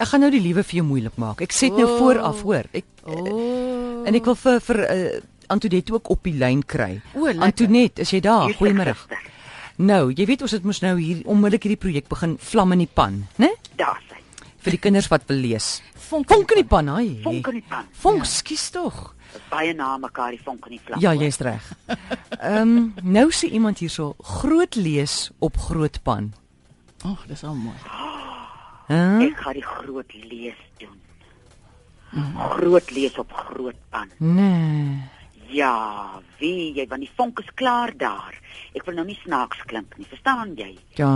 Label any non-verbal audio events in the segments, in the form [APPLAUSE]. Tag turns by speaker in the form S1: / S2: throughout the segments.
S1: Ek gaan nou die liewe vir jou moeilik maak. Ek sê dit nou
S2: Oh.
S1: vooraf, hoor. Ek eh,
S2: Oh.
S1: en ek wil vir vir uh, Antoinette ook op die lyn kry.
S2: O, lekker.
S1: Antoinette, is jy daar?
S3: Yes, ek
S1: Goeiemôre.
S3: gister.
S1: Nou, jy weet ons het mos nou hier onmiddellik hierdie projek begin vlam in die pan, né?
S3: Daar sy.
S1: Vir die kinders wat wil lees.
S2: Vonk-
S1: Vonk in die pan, hy.
S3: Vonk in die pan. ja.
S1: Vonk, skus tog.
S3: Dis Baie na mekaar die vonk in die vlam.
S1: Ja, jy's reg. Ehm nou sê iemand hierso groot lees op groot pan.
S2: Ag, oh, dis al mooi.
S1: Hæ?
S3: Ek gaan die groot lees doen. Groot lees op groot pan.
S1: Nee.
S3: Ja, wie jy want die vonk is klaar daar. Ek wil nou nie snaaks klink nie, verstaan jy?
S1: Ja.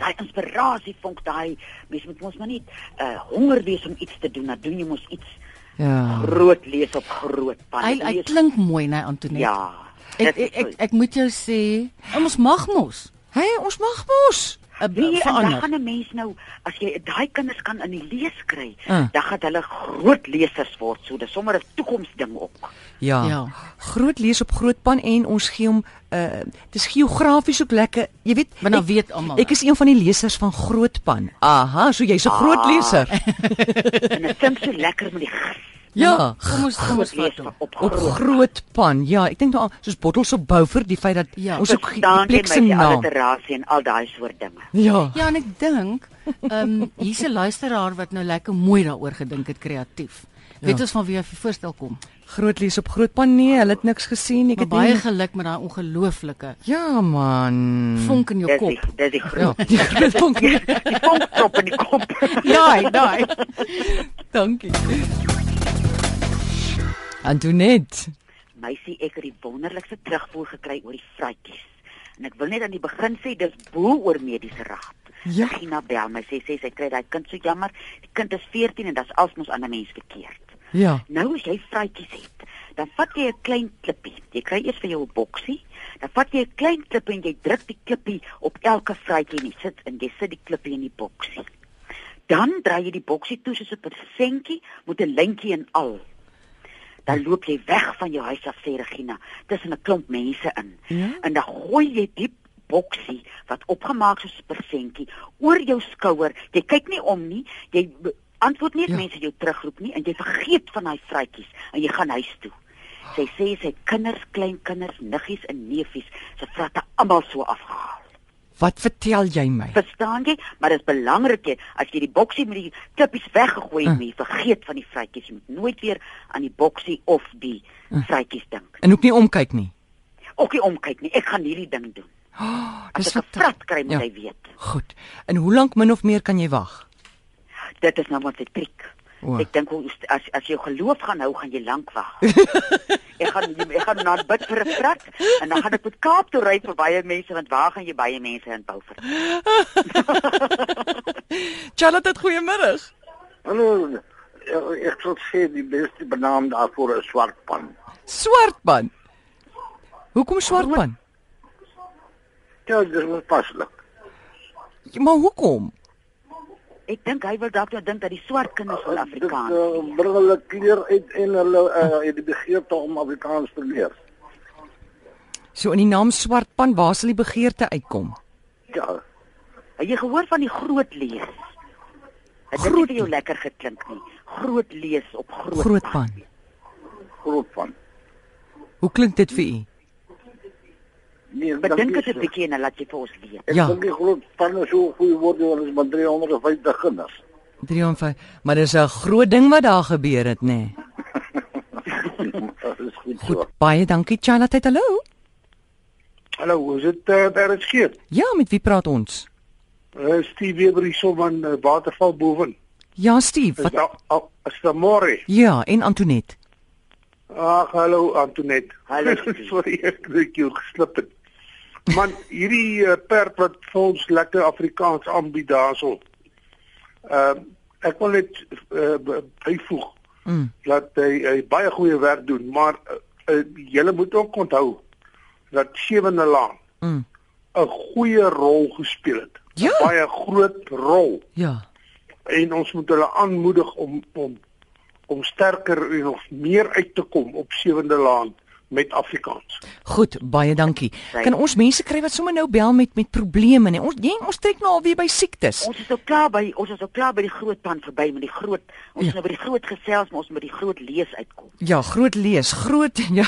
S3: Daai inspirasie vonk daai mens moet mos maar nie uh, honger wees om iets te doen, dan doen jy mos iets
S1: Ja.
S3: groot lees op groot pan.
S2: Hy hy
S3: Lees-
S2: klink mooi, né, Antoinette?
S3: Ja.
S2: Ek
S3: dit is
S2: ek ek,
S3: so.
S2: ek moet jou sê, ons mag mos
S1: Hey, ons mag mos.
S2: 'n
S3: Nee,
S2: b-
S3: en dan gaan
S2: verander.
S3: 'n mens nou as jy daai kinders kan in die lees kry,
S1: Ah.
S3: dan gaan hulle groot lesers word. So dis sommer 'n toekomsding ook.
S1: Ja. ja.
S2: Ja.
S1: Groot lees op groot pan en ons gee hom uh dis geografies ook lekker. Jy nou weet,
S2: Want dan
S1: ek-
S2: weet almal
S1: Ek is een van die lesers van groot pan. Ah. Aha, so jy's 'n groot leser.
S3: En dit klink so lekker met die gis.
S1: Ja.
S2: Kom ons kom ons
S3: Groot
S2: vat
S3: lees
S2: hom.
S3: op
S1: Op
S3: groot.
S1: groot pan. Ja, ek dink nou al soos bottels op Bouver, die feit dat ja,
S2: Ja.
S1: ons ook die
S3: Verstaan jy
S1: plek
S3: my
S1: se
S3: die
S1: naam.
S3: alliterasie en al daai soort dinge?
S1: Ja.
S2: Ja, en ek dink, ehm um, hier's 'n luisteraar wat nou lekker mooi daaroor gedink het kreatief. Ja. Weet ons van wie hy vir voorstel kom?
S1: Groot lees op groot pan. Nee, hulle het niks gesien. Ek
S2: Maar
S1: het
S2: baie
S1: nie-
S2: geluk met daai ongelooflike
S1: Ja man.
S2: vonk in jou
S3: Dis die
S2: kop.
S3: dis die
S1: Ja, [LAUGHS]
S3: groot.
S1: ek het vonk.
S3: [LAUGHS] Die vonktop in die kop.
S1: [LAUGHS]
S2: Daai, daai.
S1: Ja, Dankie. Antoinette.
S3: Meisie, ek het die wonderlikste terugvoer gekry oor die vrytjies. En ek wil net aan die begin sê dis bo oor mediese raad.
S1: Ja.
S3: Gina bel my sê sê sy kry daai kind so jammer. Die kind is 14 en dit's alsmos aan 'n mens verkeerd.
S1: Ja.
S3: Nou as jy vrytjies het, dan vat jy 'n klein klippie. Jy kry eers vir jou 'n boksie. Dan vat jy 'n klein klip en jy druk die klippie op elke vrytjie en jy sit en jy sit die klippie in die boksie. Dan draai jy die boksie toe soos 'n persentjie met 'n lintjie en al. Dan loop jy weg van jou huis af sê Regina, tussen 'n klomp mense in.
S1: Ja.
S3: En dan gooi jy die boksie wat opgemaak is soos 'n persentjie oor jou skouer. Jy kyk nie om nie. Jy be- antwoord nie as
S1: Ja.
S3: ja. mense jou terugroep nie en jy vergeet van daai vrytjies en jy gaan huis toe. Sy sê sy kinders, kleinkinders, niggies en neefies, sy vratte almal so afgehaal.
S1: Wat vertel jy my?
S3: Verstaan jy? Maar dit is belangrik jy as jy die boksie met die klippies weggegooi het,
S1: Ah.
S3: uh. jy vergeet van die vrytjies. Jy moet nooit weer aan die boksie of die
S1: Ah.
S3: vrytjies dink.
S1: En ook nie omkyk nie.
S3: Ook nie omkyk nie. Ek gaan hierdie ding doen.
S1: Oh,
S3: As
S1: dis
S3: ek 'n
S1: wat
S3: vrat kry, moet
S1: Ja.
S3: ja. hy weet.
S1: goed. En hoe lank min of meer kan jy wag?
S3: Dit is nou wat se triek.
S1: O.
S3: Oh. Ek dink hoe- as as jy geloof gaan hou, gaan jy lank
S1: [LAUGHS]
S3: wag. ek gaan ek gaan na bid vir 'n vrat en dan gaan ek met Kaap toe ry vir baie mense want waar gaan jy baie mense in Beaufort?
S1: Charlotte, goeiemôre.
S4: Hallo. eh, Ek sou sê die beste benaam daarvoor is swart pan.
S1: Swartpan. Hoekom swartpan?
S4: Ja, dis mos paslik.
S1: Maar hoekom?
S3: Ek dink hy wil dalk nou dink dat die swart kinders van
S5: eh,
S4: Dit
S3: Afrikaans
S4: uh, bring hulle kleur uit en hulle uh, het die begeerte om Afrikaans te leer.
S1: So in die naam swartpan, waar sal die begeerte uitkom?
S4: Ja.
S3: Het jy gehoor van die groot lees? Het dit nie
S1: Groot
S3: vir jou lekker geklink nie? Groot lees op groot,
S1: Grootpan.
S4: Groot pan.
S1: Hoe klink dit vir u?
S4: Nee,
S3: Bedink
S4: dankie,
S3: dit 'n
S4: so.
S3: bietjie en dan laat jy vir ons weet.
S4: Ek
S1: Ja.
S4: dink die groot pan is so 'n goeie woord want ons maar 350 kinders.
S3: [LAUGHS]
S1: 305. Maar dis 'n groot ding wat daar gebeur het, nê? Nee.
S4: Dit is goed so.
S1: Goed, baie dankie Charlotte. Hallo.
S5: Hallo, hoe is dit uh, daar is geet?
S1: Ja, met wie praat ons?
S5: Uh, Steve Weber hier so van uh, Waterval boven.
S1: Ja, Steve.
S5: Is
S1: Wat?
S5: da al- is da môre?
S1: Ja, en Antoinette.
S5: Ag, hallo Antonet. [LAUGHS]
S3: Hallo, Steve.
S5: Sorry ek het jou geslip het. Man, hierdie uh, perd wat vir ons lekker Afrikaans aanbied daarso. Ehm uh, ek wil net uh, b- byvoeg
S1: Mm.
S5: dat hy, hy baie goeie werk doen, maar uh, uh, julle moet ook onthou dat Sewende Laan
S1: Mm.
S5: 'n goeie rol gespeel het. 'n
S1: Ja.
S5: Baie groot rol.
S1: Ja.
S5: en ons moet hulle aanmoedig om om om sterker en nog meer uit te kom op sewende laan met Afrikaans.
S1: Goed, baie dankie. Kan ons mense kry wat sommer nou bel met met probleme nie? Ons jeng, ons trek nou alweer by siektes.
S3: Ons is nou klaar by ons is nou klaar by die groot pan verby met die groot ons
S1: Ja.
S3: ja. nou by die groot gesels maar ons moet by die groot lees uitkom.
S1: Ja, groot lees, groot [LAUGHS] ja,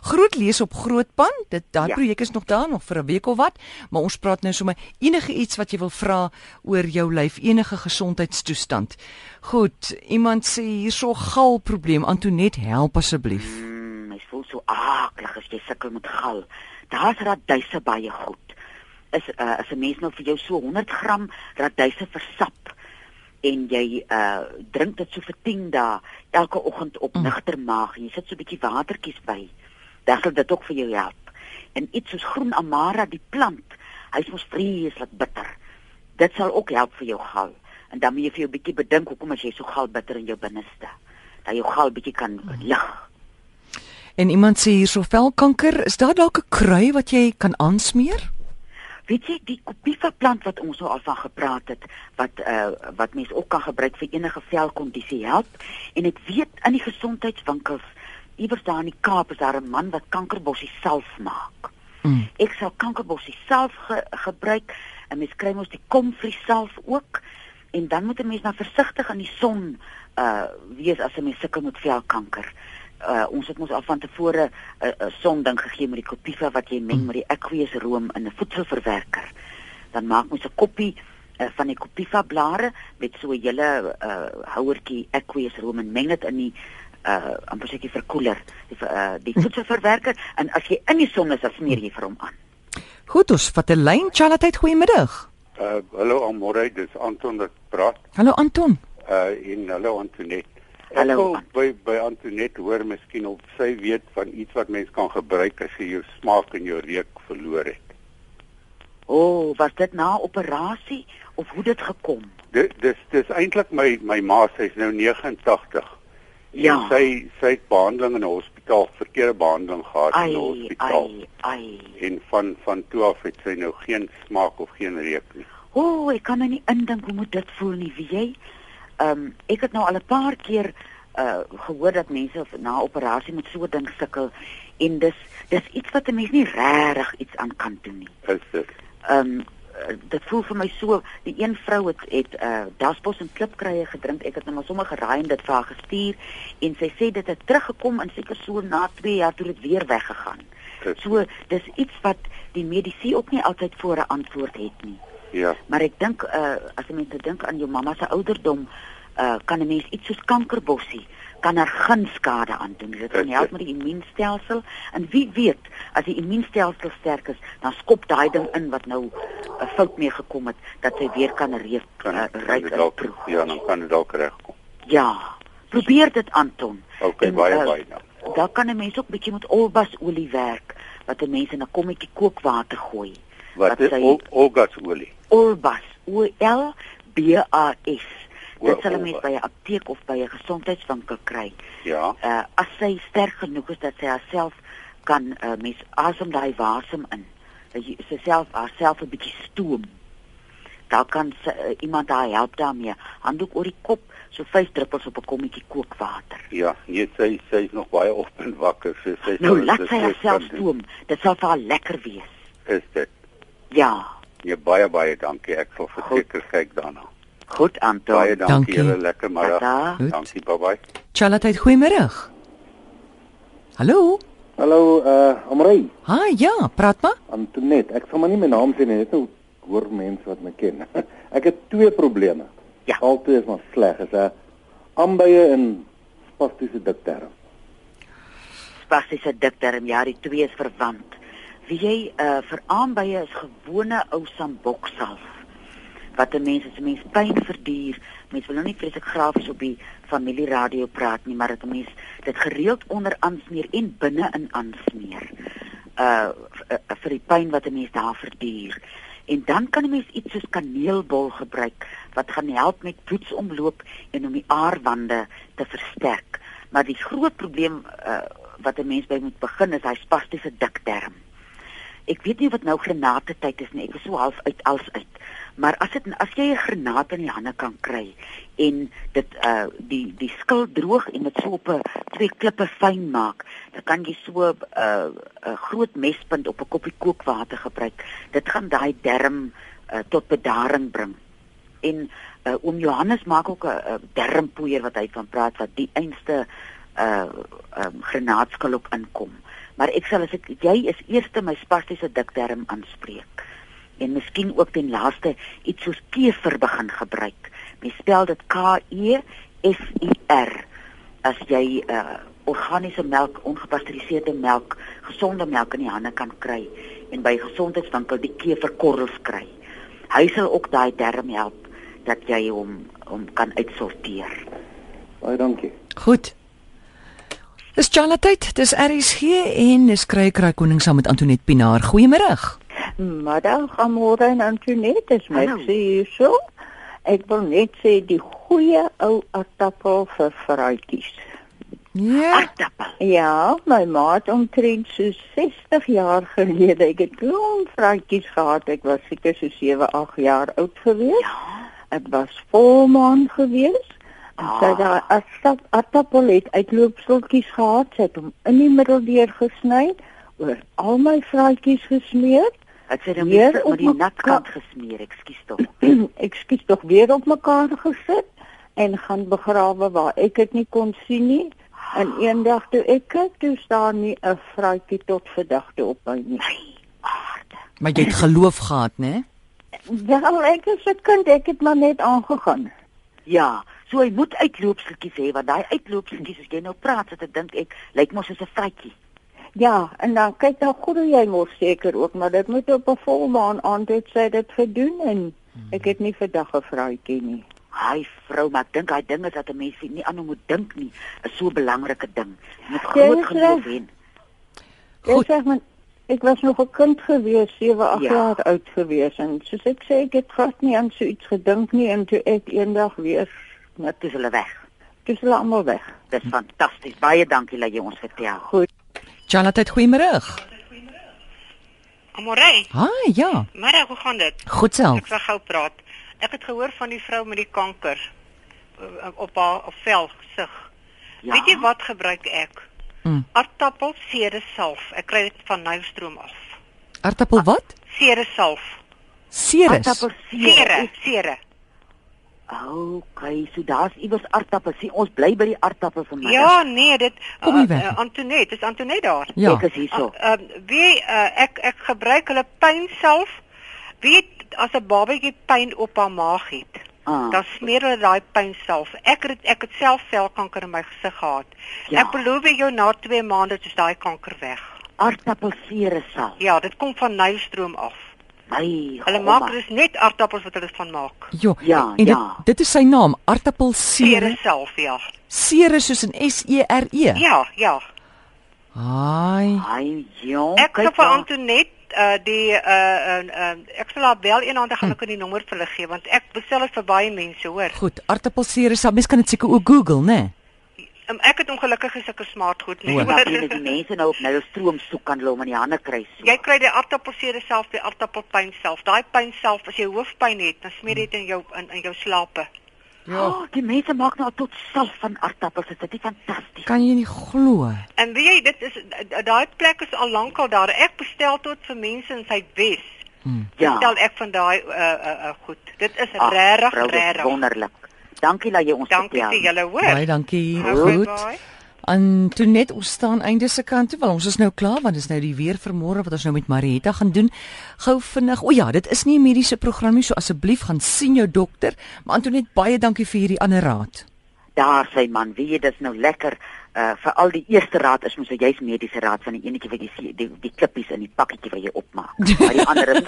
S1: groot lees op Grootpan. Dit daai ja.
S3: Ja.
S1: projek is nog daar nog vir 'n week of wat, maar ons praat nou sommer enige iets wat jy wil vra oor jou lyf, enige gesondheidstoestand. Goed, iemand sê hierso gal probleem. Antonet, help asseblief.
S3: Mm, mens voel so aaklig as jy sukkel met gal. Daar's raduise baie goed. Is uh, as 'n mens nou vir jou so 100 gram raduise versap en jy uh drink dit so vir 10 dae elke oggend op mm. nigter maag en jy sit so 'n bietjie watertjies by, dan sal dit ook vir jou help. En iets soos groen amara, die plant, hy's mos vreeslik bitter. Dit sal ook help vir jou gal. En dan moet jy vir jou bietjie bedink hoekom as jy so gal bitter in jou binneste. Dat jou gal bietjie kan lig. Mm.
S1: En iemand sê hierso velkanker, is daar dalk 'n krui wat jy kan aansmeer?
S3: Weet jy die kopiva plant wat ons nou al van gepraat het wat uh wat mense ook kan gebruik vir enige velkondisie help en ek weet in die gesondheidswinkels iewers daar in die Kaap is daar 'n man wat kankerbossie self maak.
S1: Mm.
S3: Ek sal kankerbossie self ge gebruik en mens kry mos die komvrie self ook en dan moet 'n mens nou versigtig in die son uh wees as 'n mens sukkel met velkanker. Uh ons het mos al van tevore 'n uh, uh, sonding gegee met die Copiva wat jy meng met die aqueous room in 'n voedselverwerker. Dan maak mens 'n koppie uh, van die Copiva blare met so 'n hele uh houertjie aqueous room en meng dit in die uh amper seker verkoeler, die ver- uh, die voedselverwerker en as jy in die son is, dan smeer jy vir hom aan.
S1: Goed, ons vat 'n lyn. Charlotte, goeiemiddag.
S5: Uh hallo Amore, dis Anton wat praat
S1: Hallo Anton.
S5: uh en hallo Antonet.
S3: Hallo,
S5: wil
S3: Anton.
S5: by by Antonet hoor miskien of sy weet van iets wat mens kan gebruik as jy jou smaak en jou reuk verloor het.
S3: O, oh, was dit na operasie of hoe dit gekom?
S5: Dit dis dis eintlik my my ma, sy's nou 89. En
S3: Ja.
S5: Sy sy het behandeling in 'n hospitaal, verkeerde behandeling gehad in
S3: Ai,
S5: 'n hospitaal.
S3: ai, ai.
S5: En van van toe af het sy nou geen smaak of geen reuk nie.
S3: O, oh, ek kan nou nie indink hoe moet dit voel nie, weet jy? Ehm um, ek het nou al 'n paar keer uh gehoor dat mense na operasie met so 'n ding sukkel en dis dis iets wat 'n mens nie regtig iets aan kan doen nie.
S5: Is dit?
S3: Ehm um, eh, dit voel vir my so die een vrou het het uh daspos en klipkruie gedrink ek het nou maar sommer geraai en dit vir haar gestuur en sy sê dit het teruggekom en seker so na 2 jaar toe dit weer weggegaan.
S5: Dis-
S3: So dis iets wat die medisyne ook nie altyd voor 'n antwoord het nie.
S5: Ja.
S3: Maar ek dink uh as 'n mens nou dink aan jou mamma se ouderdom, uh kan 'n mens iets soos kankerbossie kan haar geen skade aan doen. Dit kan help met die immuunstelsel en wie weet, as die immuunstelsel sterk is, dan skop daai ding in wat nou 'n uh, fout mee gekom het dat sy weer kan reuk
S5: Kan,
S3: uh,
S5: kan
S3: ryk
S5: dit
S3: en
S5: dalk
S3: proe.
S5: ja, dan kan dit dalk regkom.
S3: Ja. Probeer dit Anton.
S5: Oké,
S3: En,
S5: baie,
S3: eh,
S5: baie dankie.
S3: Dan kan 'n mens ook bietjie met olbasolie werk wat 'n mens in 'n kommetjie kookwater gooi.
S5: Wat is
S3: sy-
S5: ol- olgasolie?
S3: Olbas, O L B A S. Dit sal 'n mens
S5: Olbas.
S3: by 'n apteek of by 'n gesondheidswinkel kry.
S5: Ja.
S3: Uh as sy sterk genoeg is dat sy haarself kan uh, mens asem daai wasem in. Dat jy sy self haarself 'n bietjie stoom. Daar kan sy, uh, iemand haar help daarmee. Handdoek oor die kop, so vyf druppels op 'n kommetjie kookwater.
S5: Ja, nee, sy sy is nog baie op en wakker. So sy sal
S3: Nou
S5: dit
S3: laat sy
S5: nooit
S3: haarself
S5: kan doen.
S3: stoom. Dit sal vir haar lekker wees.
S5: Is dit?
S3: Ja.
S5: Nee, baie baie dankie. Ek sal verseker kyk daarna.
S3: Goed Anton.
S5: Baie
S1: Dankie.
S5: dankie. Julle lekker
S3: Tata.
S5: middag.
S1: Goed.
S5: Dankie. Bye bye.
S1: Charlotte, goeiemiddag. Hallo.
S6: Hallo uh Amrey,
S1: Ha, ja, praat maar.
S6: Antonet. Ek sal maar nie my naam sê nie, net nou hoor mense wat my ken. [LAUGHS] ek het twee probleme.
S3: Ja.
S6: Albei is maar sleg. Is 'n ambeie en spastiese dikterm.
S3: spastiese dikterm, ja, die twee is verwant. Wie jy uh, vir aanbye is gewone ou samboksalf wat 'n mens as 'n mens pyn verduur. Mense wil nou nie vreeslik grafies op die familieradio praat nie, maar dat 'n mens dit gereeld onder aansmeer en binne in aansmeer. Uh v- uh, vir die pyn wat 'n mens daar verduur. En dan kan 'n mens iets soos kaneelbol gebruik wat gaan help met bloedsomloop en om die aarwande te versterk. Maar die groot probleem uh, wat 'n mens by moet begin is hy spastiese dikterm. Ek weet nie wat nou granatetyd is nie. Ek is so half uit als uit. Maar as dit as jy 'n granaat in die hande kan kry en dit uh die die skil droog en dit so op 'n twee klippe fyn maak, dan kan jy so 'n uh, 'n groot mespunt op 'n koppie kookwater gebruik. Dit gaan daai derm uh, tot bedaring bring. En uh, oom Johannes maak ook 'n uh, dermpoeier wat hy van praat wat die einste uh um, granaatskil op inkom. Maar ek sal as ek jy is eerste my spastiese dikterm aanspreek en miskien ook ten laaste iets soos kever begin gebruik. Mens spel dit K E F U R as jy uh, organiese melk, ongepasteuriseerde melk, gesonde melk in die hande kan kry en by gesondheidswinkel die keverkorrels kry. Hy sal ook daai darm help dat jy hom hom kan uitsorteer.
S6: Baie dankie.
S1: Goed. Dis Charlotte, dis RSG en dis Kruikry koning saam met Antoinette Pinaar. Goeiemôre.
S7: Middag, Amore en Antoinette, dis my
S3: Hallo.
S7: sê hierso. Ek wil net sê die goeie ou aardappel vir vraatjies.
S1: Ja.
S3: Aardappel.
S7: Ja, my ma het omtrent so 60 jaar gelede, ek het klomp vraatjies gehad. Ek was seker so 7, 8 jaar oud gewees.
S3: Ja.
S7: Dit was volmaan gewees. En sy het daai aardapp- aardappel het uitloopseltjies gehad. Sy het hom in die middel deur gesny, oor al my vraatjies gesmeer
S3: Ek sê dan
S7: Weer op
S3: moet nou met die
S7: my
S3: natkant gesmeer, ekskuus tog.
S7: ek skiet tog weer op mekaar gesit en gaan begrawe waar ek dit nie kon sien nie. [LAUGHS] En eendag toe ek kyk, toe staan nie 'n vraatjie tot vandag toe op my nie.
S1: Maar jy het geloof gehad, né?
S7: Wel, ek is 'n kind, ek het maar net aangegaan.
S3: Ja, so hy moet uitloopseltjies hê want daai uitloopseltjies as jy nou praat, so ek dink ek lyk mos soos 'n vatjie.
S7: Ja, en dan kyk dan goed hoe jy mos seker ook, maar dit moet op 'n volmaan aand het sy dit gedoen en ek het nie vandag 'n vraatjie nie.
S3: Ai Mhm. vrou, maar ek dink daai ding is dat 'n mens nie aan hom moet dink nie, is so 'n belangrike ding. Jy moet groot
S7: is
S3: geloof
S7: reg.
S3: hê.
S7: Ek
S1: Goed.
S7: sê man, ek was nog 'n kind gewees, 7, 8
S3: Ja.
S7: ja. jaar oud gewees en soos ek sê, ek het glad nie aan so iets gedink nie en toe ek eendag weer net
S3: Dit is hulle weg.
S7: dis hulle almal weg.
S3: Dis fantasties. Baie dankie dat jy ons vertel.
S1: Charlotte, goeiemôre.
S8: Amorey,
S1: Ah, ja.
S8: middag, hoe gaan dit?
S1: Goed self.
S8: Ek sal gou praat. Ek het gehoor van die vrou met die kanker eh, op haar op vel gesig.
S3: Ja.
S8: Weet jy wat gebruik ek?
S1: Mm.
S8: Aardappel seresalf. Ek kry dit van Nylstroom af.
S1: Aartappel wat?
S8: Seresalf.
S1: Ceres.
S8: Sere,
S3: Aartappelsiere.
S8: sere.
S3: Okay, so daar's iewers aartappels. Ons bly by die aartappel vanmiddag.
S8: Ja, nee, dit
S1: Kom hier
S8: eh,
S1: weg.
S8: eh, Antoinette, is Antoinette daar?
S1: Ja.
S3: Ek is hierso.
S8: Ah, Ehm wie eh, ek ek gebruik hulle pyn self. Weet as 'n babatjie pyn op haar maag het,
S3: Ah.
S8: dan smeer hulle daai pyn self. Ek het ek het self velkanker in my gesig gehad.
S3: Ja.
S8: Ek beloof jou na 2 maande is daai kanker weg.
S3: Aartappelsiere sal.
S8: Ja, dit kom van Nylstroom af.
S3: Oh, My.
S8: Hulle
S3: gomme.
S8: maak dus net aardappels wat hulle van maak.
S1: Jo.
S3: Ja,
S1: en dit,
S3: ja.
S1: dit is sy naam, Aartappel
S8: Seer
S1: Ceres.
S8: self, ja.
S1: Ceres soos in S E R E.
S8: Ja, ja.
S3: Oh,
S1: Haai.
S3: Ai, jong.
S8: Ek
S3: kyk
S8: sal vir
S3: daar.
S8: Antoinette uh die uh uh, uh ek sal haar bel eendag dan
S3: Hm.
S8: gaan ek haar die nommer vir hulle gee want ek bestel dit vir baie mense hoor.
S1: Goed, Aartappel Ceres. Mens kan dit seker ook Google, né?
S8: Um, ek het ongelukkig sulke smart goed nie. [LAUGHS]
S1: Hoor.
S3: Maar sien as die
S8: hoor.
S3: mense nou op nou stroom soek kan hulle hom in die hande kry. So.
S8: Jy kry die aardappelseer self, die aardappelpyn self. Daai pyn self as jy hoofpyn het, dan smeer
S3: Hm.
S8: dit in jou in, in jou slape.
S3: Ja, oh, die mense maak nou al tot salf van aartappels. Is dit nie fantasties?
S1: Kan jy nie glo.
S8: En weet jy, dit is daai plek is al lankal daar. Ek bestel tot vir mense in Suidwes.
S3: Ja.
S8: Bestel ek van daai uh uh uh goed. Dit is
S3: Ag,
S8: regtig
S3: vrou, dit is
S8: regtig.
S3: Wonderlik. Dankie dat jy ons
S8: Dankie
S3: vertel.
S8: vir julle hoor.
S1: Baie dankie.
S8: Okay,
S1: Goed.
S8: bye.
S1: Antonet, ons staan einde se kant toe, want ons is nou klaar want dit is nou die weer vir môre wat ons nou met Marieta gaan doen. Gou vinnig. O ja, dit is nie 'n mediese program nie, so asseblief gaan sien jou dokter. Maar Antonet, baie dankie vir hierdie ander raad.
S3: Daar sy man, weet jy, dis nou lekker. Uh veral die eerste raad is mos so jy's mediese raad van die enetjie wat jy sien, die, die klippies in die pakketjie wat jy
S1: [LAUGHS]
S3: opmaak. Maar die ander is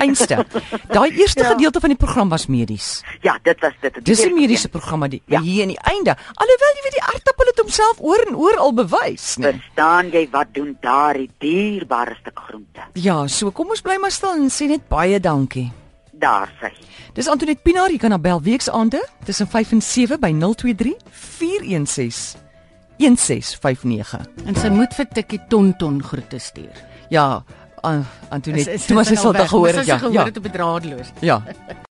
S1: Einste. Daai eerste ja. gedeelte van die program was medies.
S3: [LAUGHS] Ja, dit was dit. het
S1: Dis 'n
S3: eerste
S1: mediese
S3: een.
S1: program maar die ja.
S3: Ja.
S1: hier aan die einde. Alhoewel jy weet die aartappel het homself oor en oor al bewys, né?
S3: Verstaan jy wat doen daardie dierbare stuk groente?
S1: Ja, so kom ons bly maar stil en sê net baie dankie.
S3: Daar sy.
S1: Dis Antoinette Pinaar, jy kan haar bel weksaande tussen 5 en 7 by 023 416 1659.
S2: En sy moet vir Tikkie Tonton groete stuur.
S1: Ja, uh,
S2: Is-
S1: Antoinette,
S2: is
S1: toe
S2: dit
S1: was sy
S2: nou
S1: sal
S2: weg?
S1: dag gehoor
S2: Moes
S1: het
S2: sy
S1: ja.
S2: gehoor
S1: Ja.
S2: het op bedraadloos.
S1: Ja.